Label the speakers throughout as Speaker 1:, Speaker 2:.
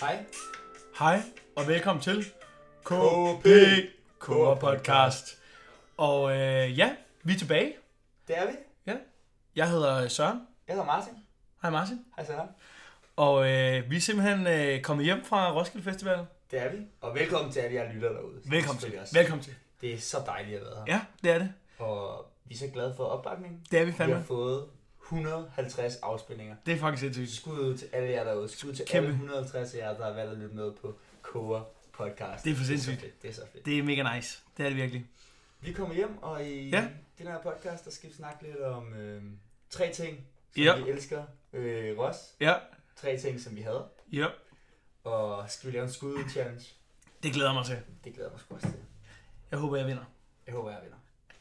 Speaker 1: Hej.
Speaker 2: Hej og velkommen til
Speaker 1: KP.
Speaker 2: KR Podcast. Og øh, ja, vi er tilbage.
Speaker 1: Det er vi.
Speaker 2: Ja. Jeg hedder Søren.
Speaker 1: Jeg hedder Martin.
Speaker 2: Hej Martin.
Speaker 1: Hej Søren.
Speaker 2: Og øh, vi er simpelthen øh, kommet hjem fra Roskilde Festival.
Speaker 1: Det er vi. Og velkommen til alle jer lytter derude.
Speaker 2: Velkommen til.
Speaker 1: Selvfølgelig også.
Speaker 2: Velkommen til.
Speaker 1: Det er så dejligt at være her.
Speaker 2: Ja, det er det.
Speaker 1: Og vi er så glade for opbakningen.
Speaker 2: Det er vi
Speaker 1: Vi
Speaker 2: fandme.
Speaker 1: har fået 150 afspilninger.
Speaker 2: Det er faktisk sindssygt.
Speaker 1: Skud ud til alle jer derude. Skud til
Speaker 2: Kæmpe.
Speaker 1: alle 150 af jer, der har valgt at lytte med på Kora Podcast.
Speaker 2: Det er for
Speaker 1: så
Speaker 2: sindssygt.
Speaker 1: fedt. Det er så fedt.
Speaker 2: Det er mega nice. Det er det virkelig.
Speaker 1: Vi kommer hjem, og i
Speaker 2: Ja.
Speaker 1: den her podcast, der skal vi snakke lidt om øh, tre ting, som
Speaker 2: Ja.
Speaker 1: vi elsker. Øh, Ross.
Speaker 2: Ja,
Speaker 1: Tre ting, som vi havde.
Speaker 2: ja.
Speaker 1: Og skal vi lave en skud challenge?
Speaker 2: Det glæder jeg mig til.
Speaker 1: Det glæder jeg mig sgu også til.
Speaker 2: Jeg håber, jeg vinder.
Speaker 1: Jeg håber, jeg vinder.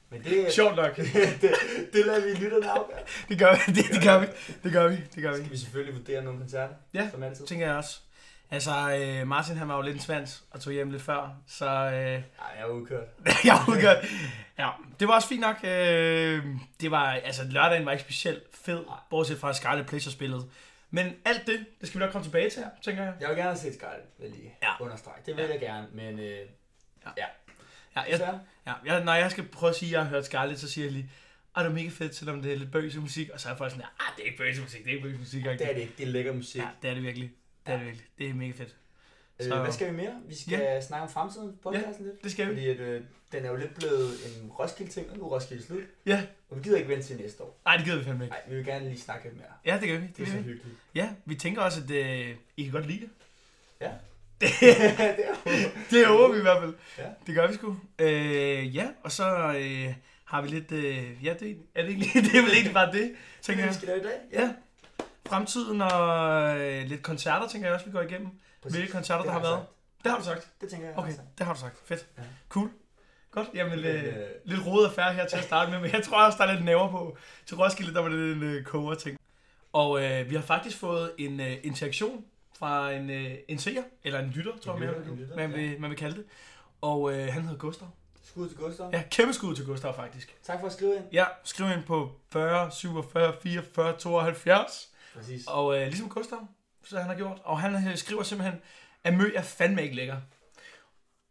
Speaker 1: Men det,
Speaker 2: Sjovt nok.
Speaker 1: det, det lader vi lytterne afgøre.
Speaker 2: Det gør vi. Det, det gør vi. Det gør vi. Det gør
Speaker 1: Så
Speaker 2: vi.
Speaker 1: skal vi selvfølgelig vurdere nogle koncerter,
Speaker 2: Ja.
Speaker 1: som altid.
Speaker 2: Det tænker jeg også. Altså, øh, Martin han var jo lidt en svans og tog hjem lidt før, så øh,
Speaker 1: Ej, jeg er udkørt.
Speaker 2: jeg var udgørt. Ja, det var også fint nok. Øh, det var, altså, lørdagen var ikke specielt fed, bortset fra at Scarlet Pleasure spillet. Men alt det, det skal vi nok komme tilbage til, tænker jeg.
Speaker 1: Jeg vil gerne have set Scarlett, vil jeg lige
Speaker 2: Ja.
Speaker 1: ja. understrege. Det vil
Speaker 2: Ja.
Speaker 1: jeg gerne, men øh,
Speaker 2: Ja, jeg,
Speaker 1: desværre.
Speaker 2: ja, jeg, når jeg skal prøve at sige, at jeg har hørt Scarlet, så siger jeg lige, at det er mega fedt, selvom det er lidt bøse musik. Og så er folk sådan, ah, det er ikke bøse musik, det er ikke bøse musik.
Speaker 1: det er det ikke. Det er lækker musik.
Speaker 2: Ja, det er det virkelig. Det er det virkelig. Det er mega fedt.
Speaker 1: Øh,
Speaker 2: så-
Speaker 1: hvad skal vi mere? Vi skal snakke om fremtiden på podcasten lidt.
Speaker 2: Det skal vi.
Speaker 1: Fordi at, øh, den er jo lidt blevet en Roskilde-ting, og nu er Roskilde slut.
Speaker 2: Ja.
Speaker 1: Og vi gider ikke vente til næste år.
Speaker 2: Nej, det gider vi fandme ikke.
Speaker 1: Nej, vi vil gerne lige snakke lidt mere.
Speaker 2: Ja, det gør vi.
Speaker 1: Det er
Speaker 2: gør vi.
Speaker 1: så hyggeligt.
Speaker 2: Ja, vi tænker også, at øh, I kan godt lide det.
Speaker 1: Ja.
Speaker 2: Det,
Speaker 1: det er jo-
Speaker 2: det håber vi i hvert fald.
Speaker 1: Ja.
Speaker 2: Det gør vi sgu. Øh, ja, og så øh, har vi lidt... Øh, ja, det er, det, egentlig, det er vel egentlig bare det,
Speaker 1: Det er
Speaker 2: tænker
Speaker 1: det,
Speaker 2: jeg.
Speaker 1: vi skal lave i dag.
Speaker 2: Ja. Fremtiden og øh, lidt koncerter, tænker jeg også, vi går igennem.
Speaker 1: Præcis.
Speaker 2: Hvilke koncerter,
Speaker 1: Det
Speaker 2: der har
Speaker 1: jeg
Speaker 2: været.
Speaker 1: sagt.
Speaker 2: Det har du sagt.
Speaker 1: Det tænker jeg, jeg
Speaker 2: Okay,
Speaker 1: har sagt.
Speaker 2: det har du sagt. Fedt.
Speaker 1: Ja.
Speaker 2: Cool. Godt. Jamen, øh,
Speaker 1: Men, øh,
Speaker 2: lidt rodet affære her til at starte med, men jeg tror også, der er lidt næver på. Til Roskilde, der var det en øh, koger ting. Og øh, vi har faktisk fået en øh, interaktion fra en, øh, en seer, eller en lytter, tror
Speaker 1: En
Speaker 2: jeg,
Speaker 1: lytter,
Speaker 2: man,
Speaker 1: en lytter,
Speaker 2: man,
Speaker 1: ja.
Speaker 2: vil, man vil kalde det. Og øh, han hedder Gustav.
Speaker 1: Skud til Gustav.
Speaker 2: Ja, kæmpe skud til Gustav faktisk.
Speaker 1: Tak for at skrive ind.
Speaker 2: Ja, skriv ind på 40 47 44 72.
Speaker 1: Præcis.
Speaker 2: Og øh, ligesom Gustav, så han har gjort. Og han øh, skriver simpelthen, at mø er fandme ikke lækker.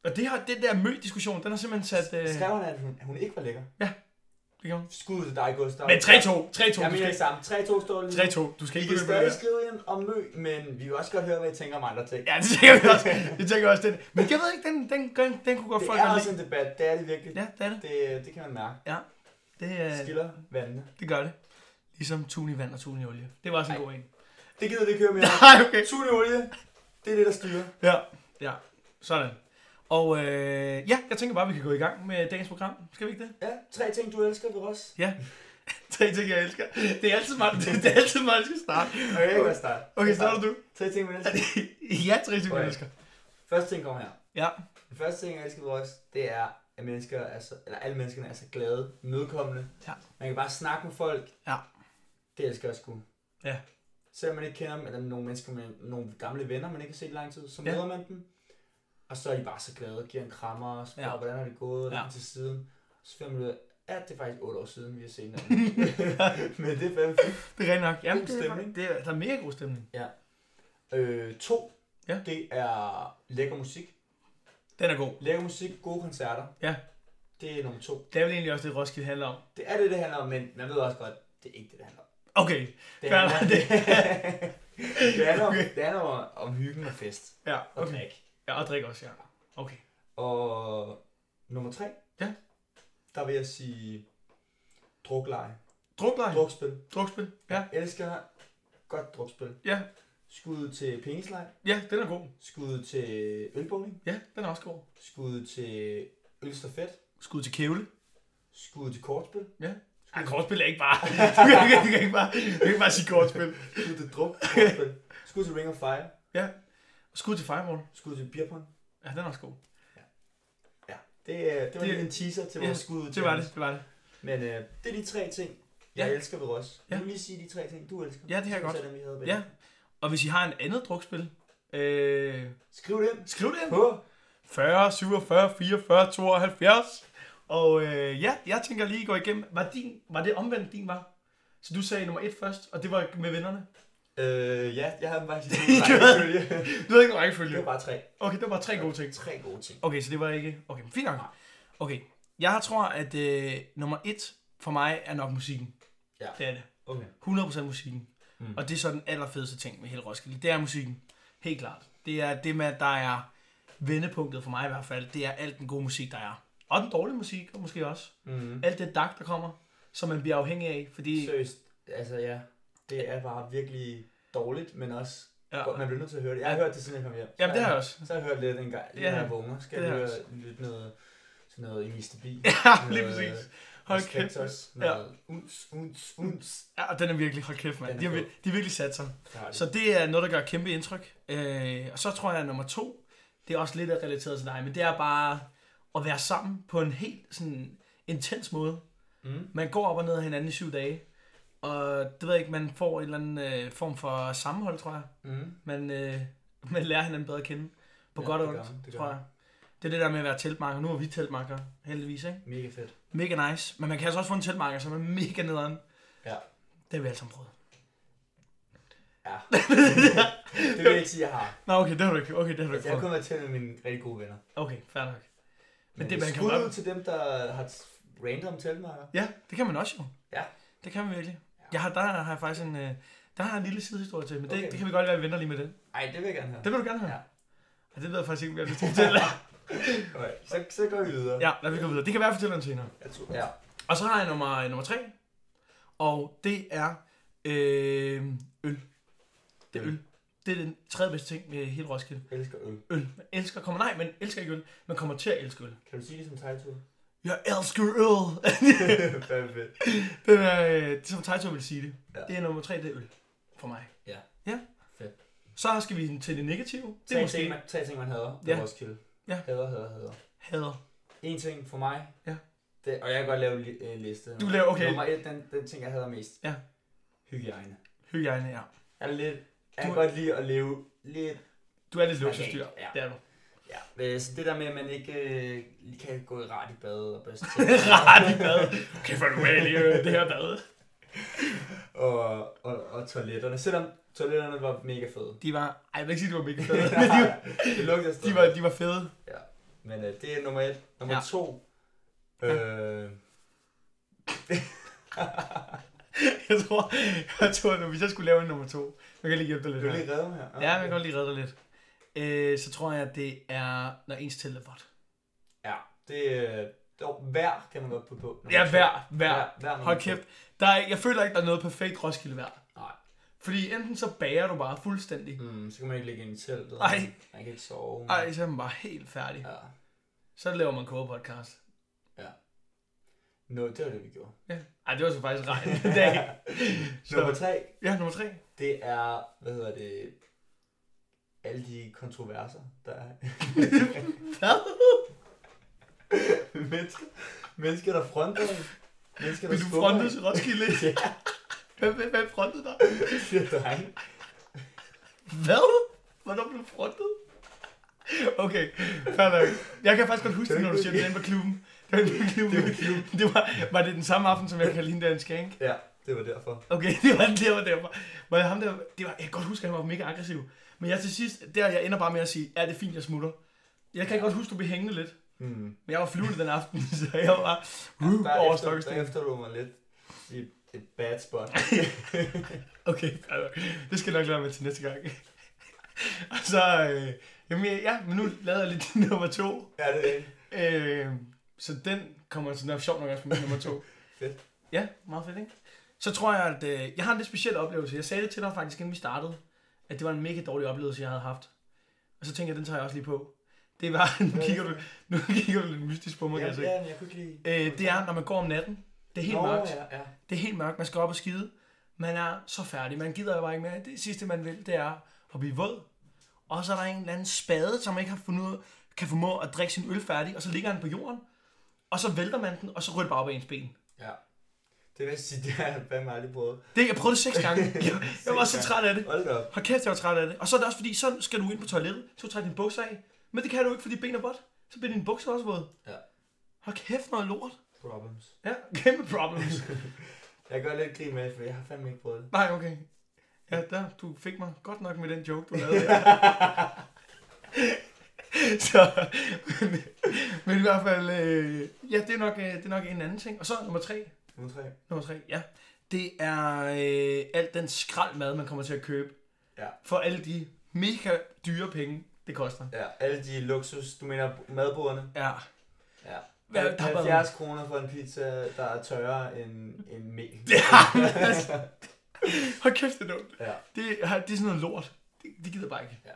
Speaker 2: Og det her, den der mø-diskussion, den har simpelthen sat... Øh,
Speaker 1: Skrev hun, at hun, hun ikke var lækker?
Speaker 2: det gjorde han.
Speaker 1: Skud til dig, Gustav.
Speaker 2: men 3-2, 3-2,
Speaker 1: Jeg
Speaker 2: du
Speaker 1: mener
Speaker 2: skal
Speaker 1: ikke sammen. 3-2 står lige.
Speaker 2: 3-2. Du skal
Speaker 1: I kan
Speaker 2: ikke begynde med
Speaker 1: stadig
Speaker 2: det.
Speaker 1: skrive ind om mø, men vi vil også godt høre, hvad I tænker om andre ting.
Speaker 2: Ja, det tænker vi også. Det tænker jeg også. Den. Men jeg ved ikke, den, den, den, den kunne godt
Speaker 1: det
Speaker 2: folk
Speaker 1: er
Speaker 2: godt
Speaker 1: også
Speaker 2: lide.
Speaker 1: en debat. Det er det virkelig.
Speaker 2: Ja, det er det.
Speaker 1: Det, det kan man mærke.
Speaker 2: Det, øh,
Speaker 1: Skiller vandene.
Speaker 2: det gør det. Ligesom tun i vand og tun i olie. Det var også en
Speaker 1: Ej.
Speaker 2: god en.
Speaker 1: Det gider vi ikke høre mere. om.
Speaker 2: Nej, okay.
Speaker 1: Tun i olie. Det er det, der styrer.
Speaker 2: Ja, ja. Sådan. Og øh, ja, jeg tænker bare, at vi kan gå i gang med dagens program. Skal vi ikke det?
Speaker 1: Ja, tre ting, du elsker ved os.
Speaker 2: Tre ting, jeg elsker. Det er altid mig, det, det er altid mig, der skal starte.
Speaker 1: Okay, jeg kan godt starte.
Speaker 2: Okay, starter du?
Speaker 1: Tre ting, man
Speaker 2: Er
Speaker 1: elsker.
Speaker 2: det- Ja, tre ting, jeg
Speaker 1: Okay.
Speaker 2: elsker.
Speaker 1: Første ting kommer her.
Speaker 2: Ja.
Speaker 1: Den første ting, jeg elsker ved os, det er, at mennesker er så, eller alle menneskerne er så glade, mødekommende.
Speaker 2: Ja.
Speaker 1: Man kan bare snakke med folk.
Speaker 2: Ja.
Speaker 1: Det elsker jeg sgu.
Speaker 2: Ja.
Speaker 1: Selvom man ikke kender dem, eller nogle mennesker, man, nogle gamle venner, man ikke har set i lang tid, så
Speaker 2: Ja.
Speaker 1: møder man dem. Og så er de bare så glade, og giver en krammer og spørger,
Speaker 2: Ja.
Speaker 1: ja. hvordan har det gået,
Speaker 2: Ja.
Speaker 1: ja. til siden. Så finder man ud af, at det er faktisk 8 år siden, vi har set hinanden. Men det er fandme fint.
Speaker 2: Det er rigtig nok. Jamen,
Speaker 1: God
Speaker 2: det, er,
Speaker 1: stemning.
Speaker 2: det er, der er mega god stemning.
Speaker 1: Øh, to,
Speaker 2: Ja.
Speaker 1: det er lækker musik.
Speaker 2: Den er god.
Speaker 1: Lækker musik, gode koncerter.
Speaker 2: Ja.
Speaker 1: Det er nummer to.
Speaker 2: Det er vel egentlig også det, Roskilde handler om.
Speaker 1: Det er det, det handler om, men man ved også godt, det er ikke det, det handler om.
Speaker 2: Okay,
Speaker 1: Det
Speaker 2: Fair
Speaker 1: handler,
Speaker 2: nok.
Speaker 1: det, det handler, om, det handler om, om hyggen og fest
Speaker 2: ja,
Speaker 1: og
Speaker 2: okay.
Speaker 1: okay. drik.
Speaker 2: Ja, og drik også, ja. Okay.
Speaker 1: Og nummer tre,
Speaker 2: Ja.
Speaker 1: der vil jeg sige drukleje.
Speaker 2: Drukleje. Druk.
Speaker 1: Drukspil.
Speaker 2: Drukspil. Ja.
Speaker 1: Jeg elsker godt drukspil.
Speaker 2: Ja.
Speaker 1: Skud til pengesleg,
Speaker 2: ja, den er god.
Speaker 1: skud til ølbowling,
Speaker 2: Ja, den er også god.
Speaker 1: skud til ølstafet,
Speaker 2: Skud til kævle.
Speaker 1: skud til kortspil,
Speaker 2: Ja. Ej, kortspil er ikke bare... du, kan ikke, du, kan ikke bare du kan ikke bare sige kortspil.
Speaker 1: skud til druk, kortspil, skud til ring of fire,
Speaker 2: Skud til fireball.
Speaker 1: skud til beerpong.
Speaker 2: Ja, den er også god.
Speaker 1: Det, er- det var
Speaker 2: Det-
Speaker 1: lige en teaser til
Speaker 2: ja,
Speaker 1: vores skud.
Speaker 2: Det var det, det var det.
Speaker 1: Men øh, det er de tre ting, jeg
Speaker 2: Ja.
Speaker 1: ja. elsker ved os.
Speaker 2: Ja.
Speaker 1: Ja. Du lige sige de tre ting, du elsker.
Speaker 2: Ja, det her er
Speaker 1: Synes
Speaker 2: godt.
Speaker 1: jeg, dem, vi havde ved.
Speaker 2: Ja. Og hvis I har en andet drukspil, øh,
Speaker 1: Skriv det ind
Speaker 2: skriv det ind.
Speaker 1: på
Speaker 2: 40, 47, 44, 72. Og øh, ja, jeg tænker lige gå igennem. Var, din, var det omvendt din var? Så du sagde nummer et først, og det var med vennerne?
Speaker 1: Øh, ja, jeg havde dem faktisk i
Speaker 2: I
Speaker 1: samme rækkefølge.
Speaker 2: Du havde ikke nogen
Speaker 1: Det
Speaker 2: rækkefølge.
Speaker 1: var bare tre.
Speaker 2: Okay, det var bare tre gode ting.
Speaker 1: Tre gode ting.
Speaker 2: Okay, så det var ikke... Okay, men fint nok. Okay, jeg har- tror, at øh, nummer et for mig er nok musikken.
Speaker 1: Ja.
Speaker 2: Det er det.
Speaker 1: Okay.
Speaker 2: 100% musikken.
Speaker 1: Mm.
Speaker 2: Mm. Og det er så den allerfedeste ting med hele Roskilde. Det er musikken. Helt klart. Det er det, med, der er vendepunktet for mig i hvert fald. Det er alt den gode musik, der er. Og den dårlige musik, og måske også.
Speaker 1: Mm.
Speaker 2: Alt det dak, der kommer, som man bliver afhængig af. Fordi
Speaker 1: Seriøst, altså ja, det er bare virkelig dårligt, men også,
Speaker 2: Ja.
Speaker 1: godt, man bliver nødt til at høre det. Jeg har hørt det, siden jeg kom hjem.
Speaker 2: Jamen, det har jeg også.
Speaker 1: Så har jeg hørt lidt en gang, lige
Speaker 2: Ja,
Speaker 1: når jeg vågner, skal
Speaker 2: det
Speaker 1: jeg
Speaker 2: har
Speaker 1: høre
Speaker 2: jeg
Speaker 1: lidt noget, sådan noget i Mr. Bean.
Speaker 2: Ja, lige
Speaker 1: Noget øh,
Speaker 2: præcis. Hold
Speaker 1: Respekt
Speaker 2: kæft.
Speaker 1: også.
Speaker 2: Ja.
Speaker 1: Noget uns, uns, uns.
Speaker 2: Ja, og den er virkelig, hold kæft, mand.
Speaker 1: Den er
Speaker 2: De har,
Speaker 1: fed.
Speaker 2: vir- de har virkelig sat sig.
Speaker 1: Der har de.
Speaker 2: Så det er noget, der gør et kæmpe indtryk. Øh, og så tror jeg, at nummer to, det er også lidt relateret til dig, men det er bare at være sammen på en helt sådan intens måde.
Speaker 1: Mm.
Speaker 2: Man går op og ned af hinanden i syv dage, og det ved jeg ikke, man får en eller anden øh, form for sammenhold, tror jeg.
Speaker 1: Mm.
Speaker 2: Man, øh, man lærer hinanden bedre at kende, på
Speaker 1: Ja,
Speaker 2: ja, godt og
Speaker 1: det gør
Speaker 2: ondt,
Speaker 1: man, det gør
Speaker 2: tror
Speaker 1: man.
Speaker 2: jeg. Det er det der med at være teltmarker. Nu er vi teltmarker, heldigvis, ikke?
Speaker 1: Mega fedt.
Speaker 2: Mega nice. Men man kan altså også få en teltmarker, som er mega nederen.
Speaker 1: Ja.
Speaker 2: Det har vi alle sammen prøvet.
Speaker 1: Ja. det vil jeg ikke sige, jeg har.
Speaker 2: Nå, okay, det har du ikke, okay, det har du
Speaker 1: Altså,
Speaker 2: ikke
Speaker 1: jeg har
Speaker 2: prøvet.
Speaker 1: kun været til med mine rigtig gode venner.
Speaker 2: Okay, fair nok.
Speaker 1: Men, Men
Speaker 2: det,
Speaker 1: det,
Speaker 2: man
Speaker 1: man
Speaker 2: kan
Speaker 1: kan
Speaker 2: bare-
Speaker 1: til dem, der har random teltmarker.
Speaker 2: Ja, det kan man også jo.
Speaker 1: Ja.
Speaker 2: Det kan man virkelig.
Speaker 1: Ja.
Speaker 2: Jeg har, der har jeg faktisk en, øh, der har jeg en lille sidehistorie til, men det,
Speaker 1: Okay.
Speaker 2: okay. det kan vi godt være, at vi venter lige med det.
Speaker 1: Ej, det vil jeg gerne have.
Speaker 2: Det vil du gerne høre?
Speaker 1: Ja.
Speaker 2: Og det ved jeg faktisk ikke, om jeg vil fortælle.
Speaker 1: Okay, så, så går vi videre.
Speaker 2: ja, lad os gå videre. Det kan være, jeg fortæller den senere.
Speaker 1: Jeg tror, ja.
Speaker 2: Og så har jeg nummer, øh, nummer tre, og det er øh, øl. Det er
Speaker 1: Øl.
Speaker 2: øl. Det er den tredje bedste ting med hele Roskilde.
Speaker 1: Jeg elsker øl.
Speaker 2: Øl. Man elsker, kommer nej, man elsker ikke øl. Man kommer til at elske øl.
Speaker 1: Kan du sige det som tegtur?
Speaker 2: Jeg elsker øl.
Speaker 1: Perfekt.
Speaker 2: den er, øh, det er som Taito vil sige det.
Speaker 1: Ja.
Speaker 2: Ja. Det er nummer tre, det er øl. For mig.
Speaker 1: Ja.
Speaker 2: Ja.
Speaker 1: Fedt.
Speaker 2: Så skal vi til det negative. Det er
Speaker 1: Tre ting,
Speaker 2: måske
Speaker 1: man, tre ting, man hader ved
Speaker 2: Ja.
Speaker 1: Roskilde.
Speaker 2: Ja.
Speaker 1: Hader, hader, hader.
Speaker 2: hader.
Speaker 1: En ting for mig.
Speaker 2: Ja.
Speaker 1: Det, og jeg kan godt lave en li- en liste.
Speaker 2: Du laver, okay,
Speaker 1: Nummer et, den, den ting, jeg hader mest.
Speaker 2: Ja.
Speaker 1: Hygiejne.
Speaker 2: hygiejne, ja.
Speaker 1: Jeg er lidt... Jeg kan
Speaker 2: Du-
Speaker 1: godt lide at leve lidt...
Speaker 2: Du er lidt
Speaker 1: Okay,
Speaker 2: luksusdyr.
Speaker 1: ja.
Speaker 2: Det er du.
Speaker 1: Ja. øh, Så det der med, at man ikke øh, lige kan gå i ret i bad og børste
Speaker 2: Rart i bad. Okay, for du er lige øh, det her bad.
Speaker 1: og, og, og toiletterne. Selvom toiletterne var mega fede.
Speaker 2: De var, ej, jeg vil ikke sige, de var mega fede, men de, var-
Speaker 1: det lugtede
Speaker 2: de, var, de var fede.
Speaker 1: Men øh, det er nummer et. Nummer
Speaker 2: Ja.
Speaker 1: to. Øh,
Speaker 2: Jeg tror, jeg tror, at hvis jeg skulle lave en nummer to, man kan lige hjælpe
Speaker 1: vil
Speaker 2: dig lidt
Speaker 1: du
Speaker 2: her.
Speaker 1: lige Ah, redde mig her?
Speaker 2: Ja, man kan godt lige redde dig lidt. Øh, så tror jeg, at det er, når ens telt er vådt.
Speaker 1: Ja, det er... Øh, vær kan man godt putte på.
Speaker 2: Ja, hver, hver.
Speaker 1: Vær, vær nummer
Speaker 2: Hold
Speaker 1: to.
Speaker 2: kæft. Der er, ikke- jeg føler ikke, der er noget perfekt Roskilde vejr.
Speaker 1: Nej.
Speaker 2: Fordi enten så bager du bare fuldstændig.
Speaker 1: Mm, så kan man ikke ligge ind i teltet.
Speaker 2: Ej.
Speaker 1: Man kan ikke sove.
Speaker 2: Ej, så er man bare helt færdig.
Speaker 1: Ja.
Speaker 2: Så laver man kogepodcast.
Speaker 1: Nå, det var det, vi gjorde.
Speaker 2: Ja. Ej, det var så faktisk regn i dag.
Speaker 1: Nummer
Speaker 2: Så,
Speaker 1: tre,
Speaker 2: ja, nummer tre.
Speaker 1: det er... Hvad hedder det? Alle de kontroverser, der er.
Speaker 2: Hvad?
Speaker 1: mennesker, mennesker, der fronter en. Mennesker, der
Speaker 2: Vil du
Speaker 1: skubber
Speaker 2: fronte
Speaker 1: en.
Speaker 2: til Roskilde?
Speaker 1: Ja.
Speaker 2: Hvem, hvem, hvem frontede dig?
Speaker 1: Det er drenge.
Speaker 2: Hvad? Hvornår blev du frontet? Okay, fair nok. Jeg kan faktisk godt huske det, når du siger det inde på klubben. Det var inde på klubben.
Speaker 1: Det var klubben.
Speaker 2: Det var, var det den samme aften, som jeg kaldte hende der en skank?
Speaker 1: Ja, det var derfor.
Speaker 2: Okay, det var det var derfor. Var det ham der, det var, jeg kan godt huske, at han var mega aggressiv. Men jeg til sidst, der jeg ender bare med at sige, ja, det er fint, jeg smutter. Jeg kan godt huske, du blev hængende lidt.
Speaker 1: Mm.
Speaker 2: Men jeg var flyvende den aften, så jeg var uh,
Speaker 1: Der
Speaker 2: over
Speaker 1: efter, der
Speaker 2: stokkesten.
Speaker 1: efterlod mig lidt i et bad spot.
Speaker 2: Okay, fair nok. det skal jeg nok lade med til næste gang. Og så, øh, jamen, ja, men nu lavede jeg lidt nummer to.
Speaker 1: ja, det er det.
Speaker 2: Øh, så den kommer sådan nok sjovt nok også på min nummer to.
Speaker 1: Fedt.
Speaker 2: Ja, meget fedt, ikke? Så tror jeg, at øh, jeg har en lidt speciel oplevelse. Jeg sagde det til dig faktisk, inden vi startede, at det var en mega dårlig oplevelse, jeg havde haft. Og så tænker jeg, den tager jeg også lige på. Det var, nu kigger du, nu kigger du lidt mystisk på mig, kan jeg
Speaker 1: Ja,
Speaker 2: se.
Speaker 1: ja, men jeg kunne ikke lide...
Speaker 2: Øh, det er, når man går om natten. Det er helt mørkt.
Speaker 1: Ja, ja.
Speaker 2: Det er helt mørkt. Man skal op og skide. Man er så færdig. Man gider bare ikke mere. Det sidste, man vil, det er at blive våd. Og så er der en eller anden spade, som ikke har fundet ud, kan formå at drikke sin øl færdig, og så ligger han på jorden. Og så vælter man den, og så ryger det bare op af ens ben.
Speaker 1: ja. Det vil jeg sige, det har jeg fandme aldrig prøvet.
Speaker 2: Det, jeg prøvede det seks gange. Jeg, jeg var så
Speaker 1: Seks
Speaker 2: træt af det.
Speaker 1: Hold da op.
Speaker 2: Hold kæft, jeg var træt af det. Og så er det også fordi, så skal du ind på toilettet, så trækker din bukser af. Men det kan du ikke, fordi ben er vådt. Så bliver dine bukser også våde.
Speaker 1: Ja.
Speaker 2: Hold kæft, noget lort.
Speaker 1: Problems.
Speaker 2: Ja, kæmpe problems.
Speaker 1: Jeg gør lidt grin med, det, for jeg har fandme ikke prøvet det.
Speaker 2: Nej, okay. Ja, der, du fik mig godt nok med den joke, du lavede der. så, men, men i hvert fald, øh, ja, det er, nok, øh, det er nok en anden ting. Og så nummer tre.
Speaker 1: Nummer tre.
Speaker 2: Nummer tre, ja. Det er øh, alt den skraldmad, man kommer til at købe.
Speaker 1: Ja.
Speaker 2: For alle de mega dyre penge, det koster.
Speaker 1: Ja, alle de luksus, du mener madbordene.
Speaker 2: Ja.
Speaker 1: Ja.
Speaker 2: Hvad, der er bare-
Speaker 1: 70 kroner for en pizza, der er tørre end, end mel.
Speaker 2: Hold kæft, det er dumt.
Speaker 1: Ja.
Speaker 2: Det, har- det er sådan noget lort. Det, det gider jeg bare ikke.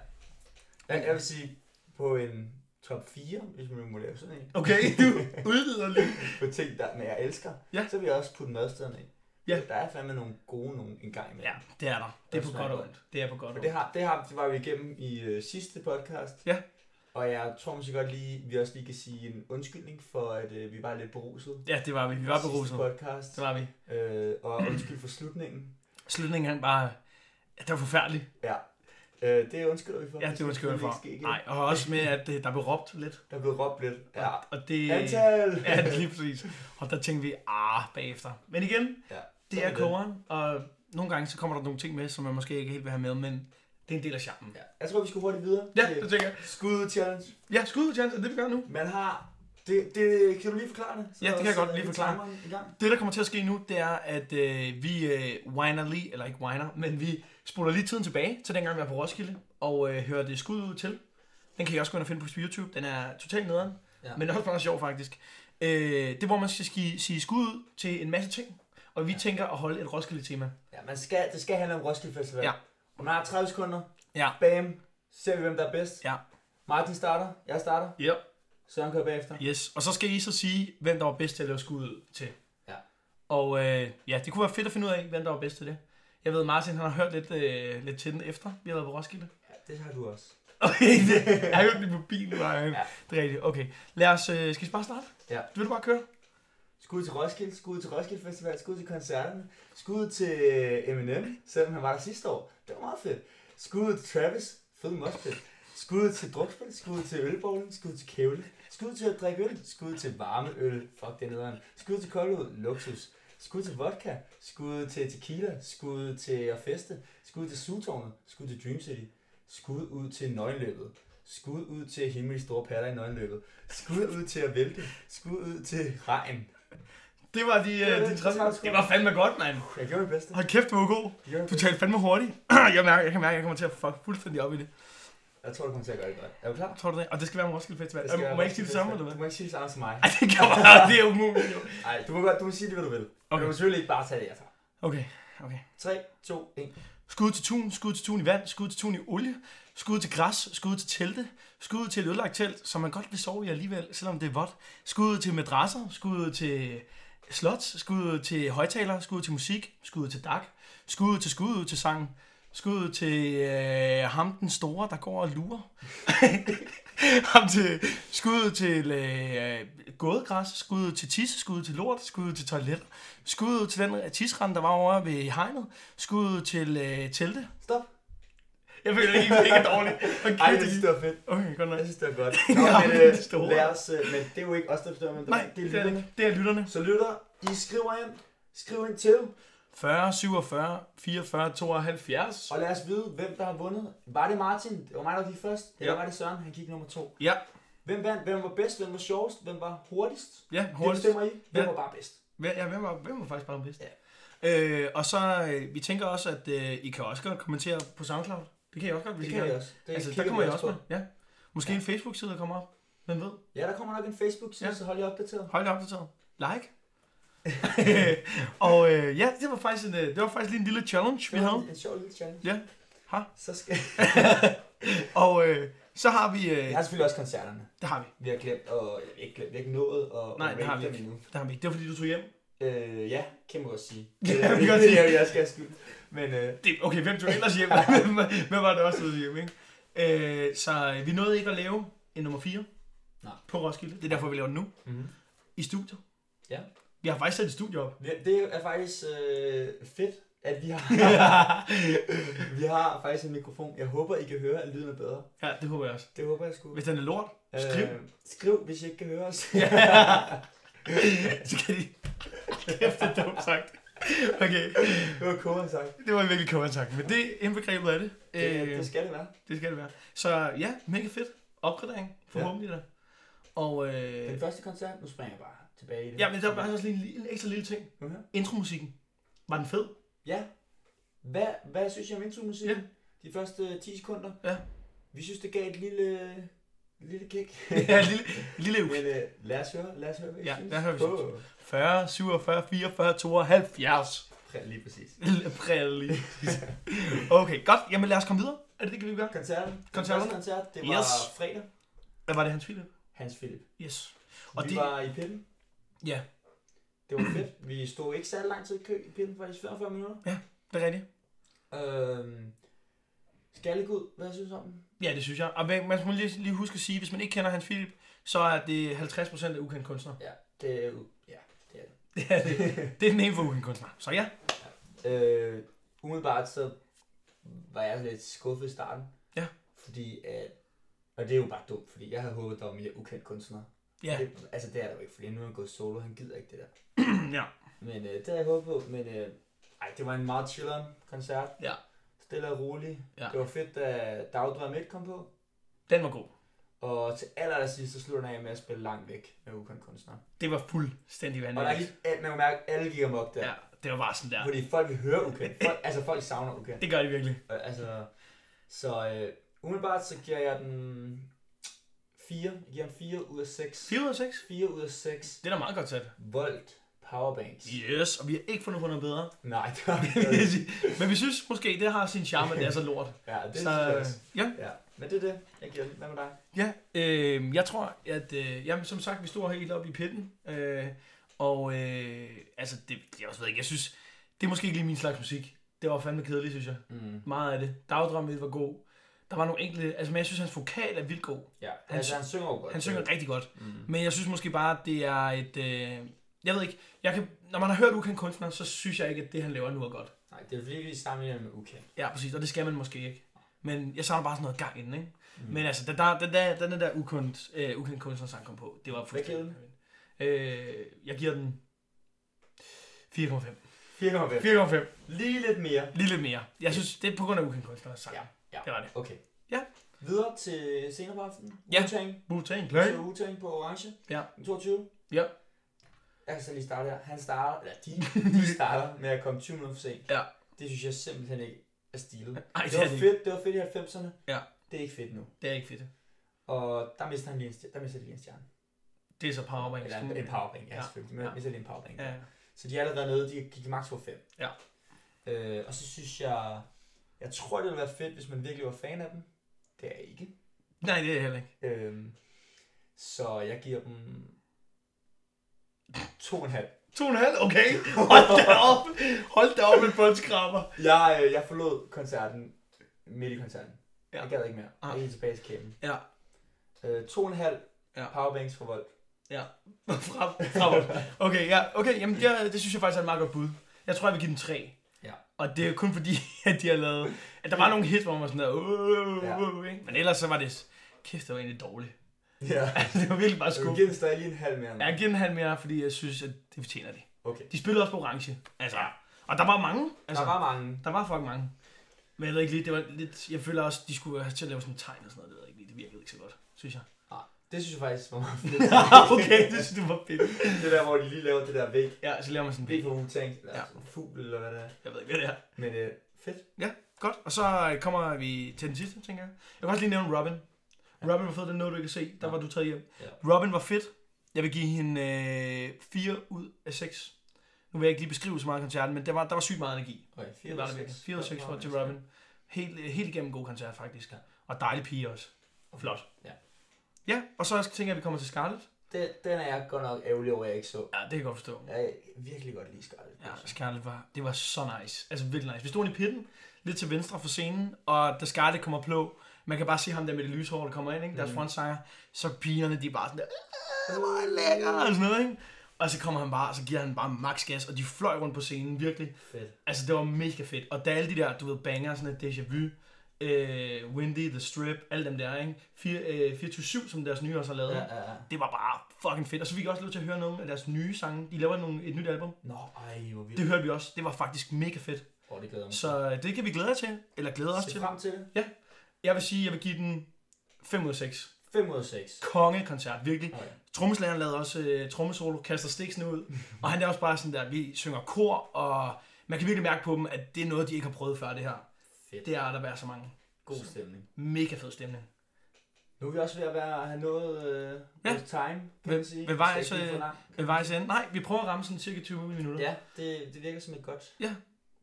Speaker 1: Jeg, jeg vil sige, på en top 4, hvis man må lave sådan en,
Speaker 2: Okay, du udvider lige.
Speaker 1: på ting, der, men jeg elsker,
Speaker 2: Ja.
Speaker 1: så vil jeg også putte madstederne i.
Speaker 2: Ja.
Speaker 1: Der er fandme nogle gode nogle en gang imellem.
Speaker 2: Ja, det er der. Det er på godt og ondt. Det er på godt og
Speaker 1: For
Speaker 2: ondt.
Speaker 1: det, har, det, har, det var vi igennem i øh, sidste podcast.
Speaker 2: Ja.
Speaker 1: Og jeg tror måske godt lige, vi også lige kan sige en undskyldning for, at øh, vi var lidt beruset.
Speaker 2: Ja, det var vi. Vi var
Speaker 1: Sidste
Speaker 2: beruset.
Speaker 1: podcast.
Speaker 2: Det var vi.
Speaker 1: Øh, og undskyld for slutningen.
Speaker 2: Slutningen han bare... Det var forfærdeligt.
Speaker 1: Ja. Øh, det undskylder vi for.
Speaker 2: Ja, det var skørt
Speaker 1: ville
Speaker 2: for.
Speaker 1: ikke ske igen.
Speaker 2: Nej, og også med, at øh, der blev råbt lidt.
Speaker 1: Der blev råbt lidt. Ja.
Speaker 2: Og, og det...
Speaker 1: Antal!
Speaker 2: Ja, lige præcis. Og der tænkte vi, ah, bagefter. Men igen,
Speaker 1: Ja,
Speaker 2: det
Speaker 1: sådan
Speaker 2: er kogeren, og nogle gange så kommer der nogle ting med, som man måske ikke helt vil have med, men det er en del af charmen.
Speaker 1: Ja. Jeg tror, vi skal hurtigt videre.
Speaker 2: Ja,
Speaker 1: til
Speaker 2: det tænker jeg.
Speaker 1: Skud challenge.
Speaker 2: Ja, skud ud, Jens, er det vi gør nu.
Speaker 1: Man har... Det, det, kan du lige forklare det? Så
Speaker 2: Ja, det kan jeg
Speaker 1: så
Speaker 2: godt lige
Speaker 1: er
Speaker 2: forklare.
Speaker 1: timeren I gang.
Speaker 2: Det, der kommer til at ske nu, det er, at øh, vi øh, whiner lige, eller ikke whiner, men vi spoler lige tiden tilbage til dengang, vi var på Roskilde, og øh, hører det skud ud til. Den kan I også gå ind og finde på YouTube. Den er totalt nederen,
Speaker 1: Ja.
Speaker 2: ja. men også meget sjov faktisk. Øh, det er, hvor man skal ski- sige skud ud til en masse ting, og vi ja. tænker at holde et Roskilde-tema.
Speaker 1: Ja, man skal, det skal handle om Roskilde Festival.
Speaker 2: Ja.
Speaker 1: Og man har 30 sekunder.
Speaker 2: Ja.
Speaker 1: Bam. Så ser vi, hvem der er bedst.
Speaker 2: Ja.
Speaker 1: Martin starter. Jeg starter.
Speaker 2: Ja.
Speaker 1: Søren kører bagefter.
Speaker 2: Yes, og så skal I så sige, hvem der var bedst til at lave skud ud til.
Speaker 1: Ja.
Speaker 2: Og øh, ja, det kunne være fedt at finde ud af, hvem der var bedst til det. Jeg ved, Martin han har hørt lidt, øh, lidt til den efter, vi har været på Roskilde.
Speaker 1: Ja, det har du også.
Speaker 2: Okay, det er jo ikke på bilen, nej.
Speaker 1: Ja.
Speaker 2: Ja. Det er rigtigt. Okay, lad os... Øh, skal vi bare starte?
Speaker 1: Ja.
Speaker 2: Vil du bare køre?
Speaker 1: Skud til Roskilde, skud til Roskilde Festival, skud til koncerterne, skud til øh, Eminem, selvom han var der sidste år. Det var meget fedt. Skud til Travis, fed moshpit. Skud til drukspil, skud til ølbowlen, skud til kævle. Skud til at drikke øl, skud til varme øl, fuck det er nederen. Skud til koldhed, luksus. Skud til vodka, skud til tequila, skud til at feste, skud til sugetårnet, skud til Dream City, skud ud til nøgenløbet, skud ud til himmelige store patter i nøgenløbet, skud ud til at vælte, skud ud til regn,
Speaker 2: Det var de,
Speaker 1: Ja,
Speaker 2: øh, de
Speaker 1: det
Speaker 2: tre.
Speaker 1: tager sgu.
Speaker 2: Det var fandme godt, mand.
Speaker 1: Jeg gjorde mit bedste.
Speaker 2: Hold kæft, du var god.
Speaker 1: Jeg, gjorde mit
Speaker 2: Du
Speaker 1: bedste.
Speaker 2: talte fandme hurtigt. jeg, mærker, jeg kan mærke, at jeg kommer til at fuck fuldstændig op i det.
Speaker 1: jeg tror, du kommer til at gøre det godt. Er du klar?
Speaker 2: Tror du det? Og det skal være om Roskilde Festival.
Speaker 1: Det
Speaker 2: Øhm,
Speaker 1: skal være
Speaker 2: Må jeg ikke sige det
Speaker 1: Roskilde
Speaker 2: samme,
Speaker 1: Festival.
Speaker 2: eller hvad?
Speaker 1: Du må ikke sige det samme som mig.
Speaker 2: Ej, det kan man Det er umuligt. jo.
Speaker 1: Nej, du må, godt, du må sige det, hvad du vil. Okay. Du
Speaker 2: Okay.
Speaker 1: må selvfølgelig ikke bare tage det, jeg tager.
Speaker 2: Okay, okay.
Speaker 1: 3, 2, 1.
Speaker 2: Skud til tun, skud til tun i vand, skud til tun i olie, skud til græs, skud til telte, skud til et ødelagt telt, som man godt vil sove i alligevel, selvom det er vådt. Skud til madrasser, skud til slot, skud til højtaler, skud til musik, skud til dak, skud til skud til sangen, skud til øh, ham den store, der går og lurer. ham til skud til øh, gådegræs, skud til tis, skud til lort, skud til toiletter, skud til den tisrand, der var over ved hegnet, skud til øh, telte,
Speaker 1: Stop.
Speaker 2: jeg føler ikke, det er dårligt. Okay,
Speaker 1: Ej, jeg synes, det var fedt.
Speaker 2: okay godt nok.
Speaker 1: Jeg synes, det var godt.
Speaker 2: Ja,
Speaker 1: Nå, men,
Speaker 2: men
Speaker 1: øh,
Speaker 2: det store.
Speaker 1: lad os, øh, men det er jo ikke os, der bestemmer, men
Speaker 2: Nej,
Speaker 1: det er lytterne.
Speaker 2: det er lytterne.
Speaker 1: Så lytter, I skriver ind. Skriv ind til,
Speaker 2: 40, 47, 44, 72.
Speaker 1: og lad os vide, hvem der har vundet. Var det Martin? Det var mig, der gik først. Eller
Speaker 2: Ja.
Speaker 1: var det Søren? Han gik nummer to.
Speaker 2: Ja,
Speaker 1: Hvem vandt? Hvem var bedst? Hvem var sjovest? Hvem var hurtigst?
Speaker 2: ja,
Speaker 1: Det
Speaker 2: hurtigt.
Speaker 1: bestemmer I. Hvem
Speaker 2: Ja.
Speaker 1: var bare bedst?
Speaker 2: Hvem- Ja, hvem var, hvem var faktisk bare den bedste?
Speaker 1: Ja.
Speaker 2: Øh, og så, øh, vi tænker også, at øh, I kan også godt kommentere på SoundCloud. Det kan I også godt, hvis
Speaker 1: Det
Speaker 2: I
Speaker 1: kan I
Speaker 2: gerne.
Speaker 1: også. Det
Speaker 2: Altså, der
Speaker 1: kigger
Speaker 2: kommer
Speaker 1: vi
Speaker 2: I også
Speaker 1: på.
Speaker 2: med. Ja. Måske en Facebook-side, der kommer op. Hvem ved?
Speaker 1: Ja, der kommer nok en Facebook-side,
Speaker 2: Ja.
Speaker 1: så hold jer opdateret.
Speaker 2: Hold da opdateret. Like. og øh, ja, det var, faktisk en, øh, det var faktisk lige en lille challenge, vi
Speaker 1: Det var
Speaker 2: havde.
Speaker 1: En, en sjov lille challenge.
Speaker 2: Ja. Ha.
Speaker 1: Så skal...
Speaker 2: Og øh, så har vi... Øh,
Speaker 1: Jeg har selvfølgelig også koncerterne.
Speaker 2: Det har vi.
Speaker 1: Vi har glemt, og eller ikke glemt, vi har ikke nået at
Speaker 2: Nej,
Speaker 1: at
Speaker 2: det har
Speaker 1: rate
Speaker 2: vi
Speaker 1: dem
Speaker 2: ikke.
Speaker 1: endnu.
Speaker 2: Det har vi ikke. Det var fordi, du tog hjem.
Speaker 1: Øh, ja, kan man godt sige.
Speaker 2: Ja,
Speaker 1: Øh,
Speaker 2: vi kan
Speaker 1: det
Speaker 2: godt
Speaker 1: er
Speaker 2: sige.
Speaker 1: jo, Jeg skal have skyld. Men øh,
Speaker 2: Det, okay, hvem tog ellers hjem? Hvem- hvem var det også, der tog hjem, ikke? Øh, så øh, vi nåede ikke at lave en nummer 4
Speaker 1: Nej.
Speaker 2: på Roskilde. Det er derfor, vi laver den nu.
Speaker 1: Mhm.
Speaker 2: I studiet.
Speaker 1: Ja.
Speaker 2: Vi har faktisk sat et studie op.
Speaker 1: vi- det er faktisk øh, fedt, at vi har, vi har faktisk en mikrofon. Jeg håber, I kan høre, at lyden er bedre.
Speaker 2: ja, det håber jeg også.
Speaker 1: Det håber jeg skulle.
Speaker 2: Hvis den er lort, skriv.
Speaker 1: skriv, hvis I ikke kan høre os.
Speaker 2: så kan de... Kæft, det er dumt sagt. Okay,
Speaker 1: Det var koger sagt.
Speaker 2: det var virkelig kogt sagt, men det er indbegrebet af det.
Speaker 1: Det,
Speaker 2: Øh,
Speaker 1: det skal det være.
Speaker 2: Det skal det være. Så ja, mega fedt. Opgradering, forhåbentlig ja. da. Og
Speaker 1: Den
Speaker 2: øh,
Speaker 1: første koncert, nu springer jeg bare tilbage i det.
Speaker 2: ja, men der var også lige en, lille- en ekstra lille ting.
Speaker 1: Okay.
Speaker 2: Intromusikken. Var den fed?
Speaker 1: Ja. Hvad, hvad synes jeg om intromusik?
Speaker 2: Ja.
Speaker 1: Ja. De første 10 sekunder.
Speaker 2: Ja.
Speaker 1: Vi synes, det gav et lille, et lille kick.
Speaker 2: ja, lille, lille uge.
Speaker 1: Men øh, lad os høre, lad os høre, hvad I
Speaker 2: Ja,
Speaker 1: synes.
Speaker 2: lad os høre, hvad I
Speaker 1: På- øh,
Speaker 2: 40, 47, 44, 72.
Speaker 1: præ- Lige præcis.
Speaker 2: Prælig. Okay, godt. Jamen lad os komme videre. Er det det, kan vi gøre?
Speaker 1: Koncerten. Den
Speaker 2: Koncerten.
Speaker 1: første koncert, det var
Speaker 2: Yes.
Speaker 1: fredag.
Speaker 2: Hvad var det, Hans Philip?
Speaker 1: Hans Philip.
Speaker 2: Yes. Og
Speaker 1: Og vi
Speaker 2: det-
Speaker 1: det... var i pinden.
Speaker 2: Ja,
Speaker 1: Det var fedt. Vi stod ikke særlig lang tid i kø i pinden, faktisk 45 minutter.
Speaker 2: det er rigtigt.
Speaker 1: Øhm, Skallegud, hvad synes du om den?
Speaker 2: Ja, det synes jeg. Og man man skal lige, lige huske at sige, hvis man ikke kender Hans Philip, så er det 50% af ukendte kunstnere.
Speaker 1: Ja, det er jo... Ja, det er det.
Speaker 2: Det er, det. det er den ene for ukendte kunstnere. Så ja,
Speaker 1: Øh, umiddelbart så var jeg lidt skuffet i starten.
Speaker 2: Ja.
Speaker 1: Fordi at... Og det er jo bare dumt, fordi jeg havde håbet, der var mere ukendte kunstnere.
Speaker 2: Ja.
Speaker 1: Det, altså det er der jo ikke, fordi nu er han gået solo, han gider ikke det der.
Speaker 2: ja.
Speaker 1: Men øh, det havde jeg håbet på, men øh, ej, det var en meget chilleren koncert.
Speaker 2: Ja.
Speaker 1: Stille og rolig.
Speaker 2: Ja.
Speaker 1: Det var fedt, da Dagdrøm 1 kom på.
Speaker 2: Den var god.
Speaker 1: Og til aller, aller sidst, så slutter den af med at spille langt væk med ukendte kunstnere.
Speaker 2: Det var fuldstændig
Speaker 1: Og der
Speaker 2: vanvittigt.
Speaker 1: gik, alt- man kunne mærke, at alle gik amok der.
Speaker 2: Ja, det var bare sådan der.
Speaker 1: Fordi folk vil høre ukendt. Folk, altså folk savner ukendt.
Speaker 2: Det gør det virkelig.
Speaker 1: Øh, Altså, så øh, umiddelbart så giver jeg den 4. Jeg giver den 4 ud af 6.
Speaker 2: 4 ud af 6.
Speaker 1: 4 ud af 6
Speaker 2: Det er da meget godt sat.
Speaker 1: volt powerbanks.
Speaker 2: Yes, og vi har ikke fundet på noget bedre.
Speaker 1: Nej, det var
Speaker 2: Det vil jeg
Speaker 1: det.
Speaker 2: sige. Men vi synes måske, det har sin charme, at det er så lort.
Speaker 1: Ja, det
Speaker 2: Så
Speaker 1: synes
Speaker 2: øh,
Speaker 1: jeg også.
Speaker 2: ja,
Speaker 1: Ja, men det er det. Jeg giver den. Hvad med dig?
Speaker 2: ja øh, jeg tror, at øh, jamen, som sagt, vi stod helt oppe i pitten. Øh, og øh, altså, det, det er også ved jeg ikke. Jeg synes, det er måske ikke lige min slags musik. Det var fandme kedeligt, synes jeg.
Speaker 1: Mm.
Speaker 2: Meget af det. Dagdrømmet var god. Der var nogle enkelte... Altså, men jeg synes, hans vokal er vildt god.
Speaker 1: Ja, altså han synger jo godt.
Speaker 2: Han synger rigtig godt.
Speaker 1: Mm.
Speaker 2: Men jeg synes måske bare, at det er et... Øh, jeg ved ikke, jeg kan, når man har hørt ukendt kunstner, så synes jeg ikke, at det han laver nu er godt.
Speaker 1: Nej, det er fordi, vi sammenligner det med ukendt.
Speaker 2: Ja, præcis, og det skal man måske ikke. Men jeg savner bare sådan noget gang inden, ikke? Mm. Men altså, den der, den der, den der ukendt, øh, ukendt kunstner sang kom på, det var fuldstændig... Øh, jeg giver den 4,5.
Speaker 1: 4,5.
Speaker 2: 4,5.
Speaker 1: Lige lidt mere.
Speaker 2: Lige lidt mere. Jeg synes, det er på grund af ukendt kunstner sang.
Speaker 1: Ja, ja.
Speaker 2: Det var det.
Speaker 1: Okay.
Speaker 2: Ja.
Speaker 1: Videre til senere på aftenen.
Speaker 2: Ja.
Speaker 1: Wu-Tang.
Speaker 2: Wu-Tang
Speaker 1: Play.
Speaker 2: Clan.
Speaker 1: Så Wu-Tang på orange.
Speaker 2: Ja.
Speaker 1: Den 22.
Speaker 2: Ja.
Speaker 1: Jeg kan så lige starte her. Han starter, eller de, de starter med at komme 20 minutter for sent.
Speaker 2: Ja.
Speaker 1: Det synes jeg simpelthen ikke er stilet.
Speaker 2: Ej,
Speaker 1: det, var fedt, det var fedt i 90'erne.
Speaker 2: Ja.
Speaker 1: Det er ikke fedt nu.
Speaker 2: Det er ikke fedt.
Speaker 1: Og der mister han lige en, stj- der mister de lige en stjerne.
Speaker 2: Det er så powerbank.
Speaker 1: Eller en, en powerbank, ja,
Speaker 2: Ja.
Speaker 1: selvfølgelig. Men
Speaker 2: Ja.
Speaker 1: ja. mister lige en powerbank.
Speaker 2: Ja,
Speaker 1: Så de er allerede nede, de gik max på 5.
Speaker 2: Ja.
Speaker 1: Øh, og så synes jeg, jeg tror det ville være fedt, hvis man virkelig var fan af dem. Det er jeg ikke.
Speaker 2: Nej, det er jeg heller ikke.
Speaker 1: Øhm, så jeg giver dem 2,5.
Speaker 2: 2,5? Okay. Hold da op. Hold da op med bundskraber.
Speaker 1: Jeg, øh, jeg forlod koncerten midt i koncerten.
Speaker 2: Ja.
Speaker 1: Ja. Jeg gad ikke mere. Jeg
Speaker 2: Ah.
Speaker 1: gik tilbage til kæmpen.
Speaker 2: Ja.
Speaker 1: Øh, to og en halv
Speaker 2: Ja.
Speaker 1: ja. powerbanks for vold.
Speaker 2: Fra, fra okay, ja, okay, jamen det, det synes jeg faktisk er et meget godt bud. Jeg tror, jeg vil give den 3.
Speaker 1: Ja.
Speaker 2: Og det er kun fordi, at de har lavet... At der var nogle hits, hvor man var sådan der...
Speaker 1: Ja.
Speaker 2: Uh, uh, uh, men ellers så var det... Kæft, det var egentlig dårligt.
Speaker 1: Ja.
Speaker 2: Altså, det var virkelig bare
Speaker 1: Jeg vil
Speaker 2: skuffet.
Speaker 1: give Øh, den stadig lige en halv mere.
Speaker 2: Jeg giver den halv mere, fordi jeg synes, at det fortjener det.
Speaker 1: Okay.
Speaker 2: De spillede også på orange. Altså, og der var mange. Altså,
Speaker 1: Der var mange.
Speaker 2: der var fucking mange. Men jeg ved ikke lige, det var lidt... Jeg føler også, de skulle have til at lave sådan en tegn og sådan noget. Det ved jeg ikke lige, det virkede ikke så godt, synes jeg.
Speaker 1: Det synes jeg faktisk var meget fedt.
Speaker 2: okay, det synes du var fedt.
Speaker 1: det der, hvor de lige laver det der væg.
Speaker 2: Ja, så laver man sådan en
Speaker 1: Væg for Wu-Tang. Eller
Speaker 2: Ja.
Speaker 1: ja. en fugl, eller hvad det er.
Speaker 2: Jeg ved ikke, hvad det er.
Speaker 1: Men øh, fedt.
Speaker 2: Godt, og så øh, kommer vi til den sidste, tænker jeg. Jeg kan også lige nævne Robin. Robin var fed, den nåede du ikke at se. Der
Speaker 1: Ja.
Speaker 2: var du taget hjem.
Speaker 1: Ja.
Speaker 2: Robin var fedt. Jeg vil give hende øh, 4 ud af 6. Nu vil jeg ikke lige beskrive så meget af koncerten, men der var, der var sygt meget energi.
Speaker 1: Okay,
Speaker 2: Det var der virkelig. 4 ud af 6 for til Robin. Helt, øh, helt igennem god koncert, faktisk.
Speaker 1: Ja.
Speaker 2: Og dejlig pige også. Flot.
Speaker 1: Ja.
Speaker 2: Ja, og så tænker jeg, at vi kommer til Scarlett.
Speaker 1: Den, den er jeg godt nok ærgerlig over, jeg ikke så.
Speaker 2: Ja, det kan jeg godt forstå.
Speaker 1: Jeg kan virkelig godt lide Scarlett.
Speaker 2: Ja, Scarlett var, det var så nice. Altså virkelig nice. Vi stod inde i pitten, lidt til venstre for scenen, og da Scarlett kommer på, man kan bare se ham der med det lyse hår, der kommer ind, ikke? deres mm.
Speaker 1: Mhm.
Speaker 2: frontsanger, så pigerne, de er bare sådan der, "Øh, hvor er det lækker, og sådan noget, ikke? Og så kommer han bare, og så giver han bare max gas, og de fløj rundt på scenen, virkelig.
Speaker 1: Fedt.
Speaker 2: Altså, det var mega fedt. Og da alle de der, du ved, banger, sådan et déjà vu, øh, Windy, The Strip, alle dem der, ikke? 4, øh, 427, som deres nye også har lavet,
Speaker 1: Ja,
Speaker 2: ja.
Speaker 1: ja, ja.
Speaker 2: det var bare fucking fedt. Og så fik jeg også lov til at høre nogle af deres nye sange. De laver nogle, et nyt album.
Speaker 1: Nå, ej, hvor vildt.
Speaker 2: Det hørte vi også. Det var faktisk mega fedt.
Speaker 1: Åh, det glæder jeg mig.
Speaker 2: Så øh, det kan vi glæde jer til. Eller glæde os
Speaker 1: Se
Speaker 2: til.
Speaker 1: frem til det.
Speaker 2: Jeg vil sige, jeg vil give den 5 ud af 6.
Speaker 1: 5 ud af 6.
Speaker 2: Kongekoncert, virkelig.
Speaker 1: Okay.
Speaker 2: Trommeslageren lavede også øh, trommesolo, kaster stiksene ud. Og han er også bare sådan der, vi synger kor, og man kan virkelig mærke på dem, at det er noget, de ikke har prøvet før, det her.
Speaker 1: Fedt.
Speaker 2: Det er der være så mange.
Speaker 1: God stemning.
Speaker 2: Mega fed stemning.
Speaker 1: Nu er vi også ved at være, have nået øh,
Speaker 2: Ja.
Speaker 1: vores time, kan
Speaker 2: Men-
Speaker 1: man sige.
Speaker 2: men var
Speaker 1: Det skal
Speaker 2: altså-
Speaker 1: ikke blive for langt.
Speaker 2: Men vejs ende, nej, vi prøver at ramme sådan cirka 20 minutter.
Speaker 1: Ja, det, det virker som et godt
Speaker 2: Ja.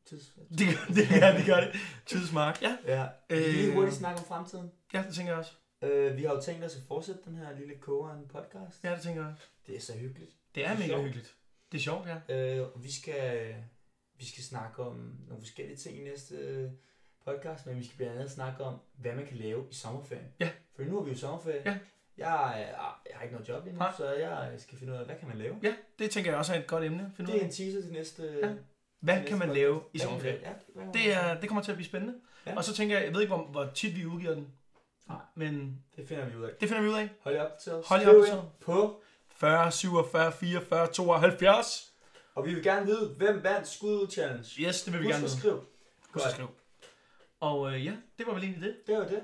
Speaker 1: tids...
Speaker 2: Det, gør- det, ja, det gør det. Tidsmark. Ja,
Speaker 1: Ja. Øh... Vi kan lige hurtigt snakke om fremtiden.
Speaker 2: ja, det tænker jeg også.
Speaker 1: Øh, vi har jo tænkt os at fortsætte den her lille kogeren podcast.
Speaker 2: Ja, det tænker jeg også.
Speaker 1: Det er så hyggeligt.
Speaker 2: Det er
Speaker 1: Det er
Speaker 2: mega
Speaker 1: sjovt.
Speaker 2: hyggeligt. Det er sjovt, ja.
Speaker 1: Øh, og vi skal, vi skal snakke om nogle forskellige ting i næste øh, podcast, men vi skal blandt andet snakke om, hvad man kan lave i sommerferien.
Speaker 2: Ja.
Speaker 1: For nu er vi jo i sommerferie.
Speaker 2: Ja.
Speaker 1: Jeg, øh, jeg har ikke noget job endnu,
Speaker 2: Nej.
Speaker 1: så jeg skal finde ud af, hvad kan man lave?
Speaker 2: Ja, det tænker jeg også er et godt emne. Find ud
Speaker 1: Det er
Speaker 2: af.
Speaker 1: en teaser til næste...
Speaker 2: Ja. Hvad kan man lave i sommerferien?
Speaker 1: Ja, det, kan
Speaker 2: Det, er, det kommer til at blive spændende.
Speaker 1: Ja.
Speaker 2: Ja. Og så tænker jeg, jeg ved ikke, hvor, hvor tit vi udgiver den.
Speaker 1: Nej.
Speaker 2: Men
Speaker 1: det finder vi ud af.
Speaker 2: det finder vi ud af.
Speaker 1: Hold jer op til os.
Speaker 2: Hold jer op
Speaker 1: Skriv
Speaker 2: til
Speaker 1: ind på.
Speaker 2: 40, 47, 44, 72.
Speaker 1: Og vi vil gerne vide, hvem vandt skud challenge.
Speaker 2: Yes, det vil vi
Speaker 1: Husk
Speaker 2: gerne
Speaker 1: at
Speaker 2: vide.
Speaker 1: skrive.
Speaker 2: Husk at
Speaker 1: Godt.
Speaker 2: skrive. Og øh, ja, det var vel egentlig det.
Speaker 1: Det var det.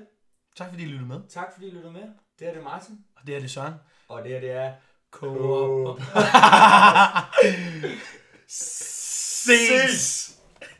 Speaker 2: Tak fordi I lyttede med.
Speaker 1: Tak fordi I lyttede med. Det her det er Martin.
Speaker 2: Og det her det er Søren.
Speaker 1: Og det her det er...
Speaker 2: Coop. Ses.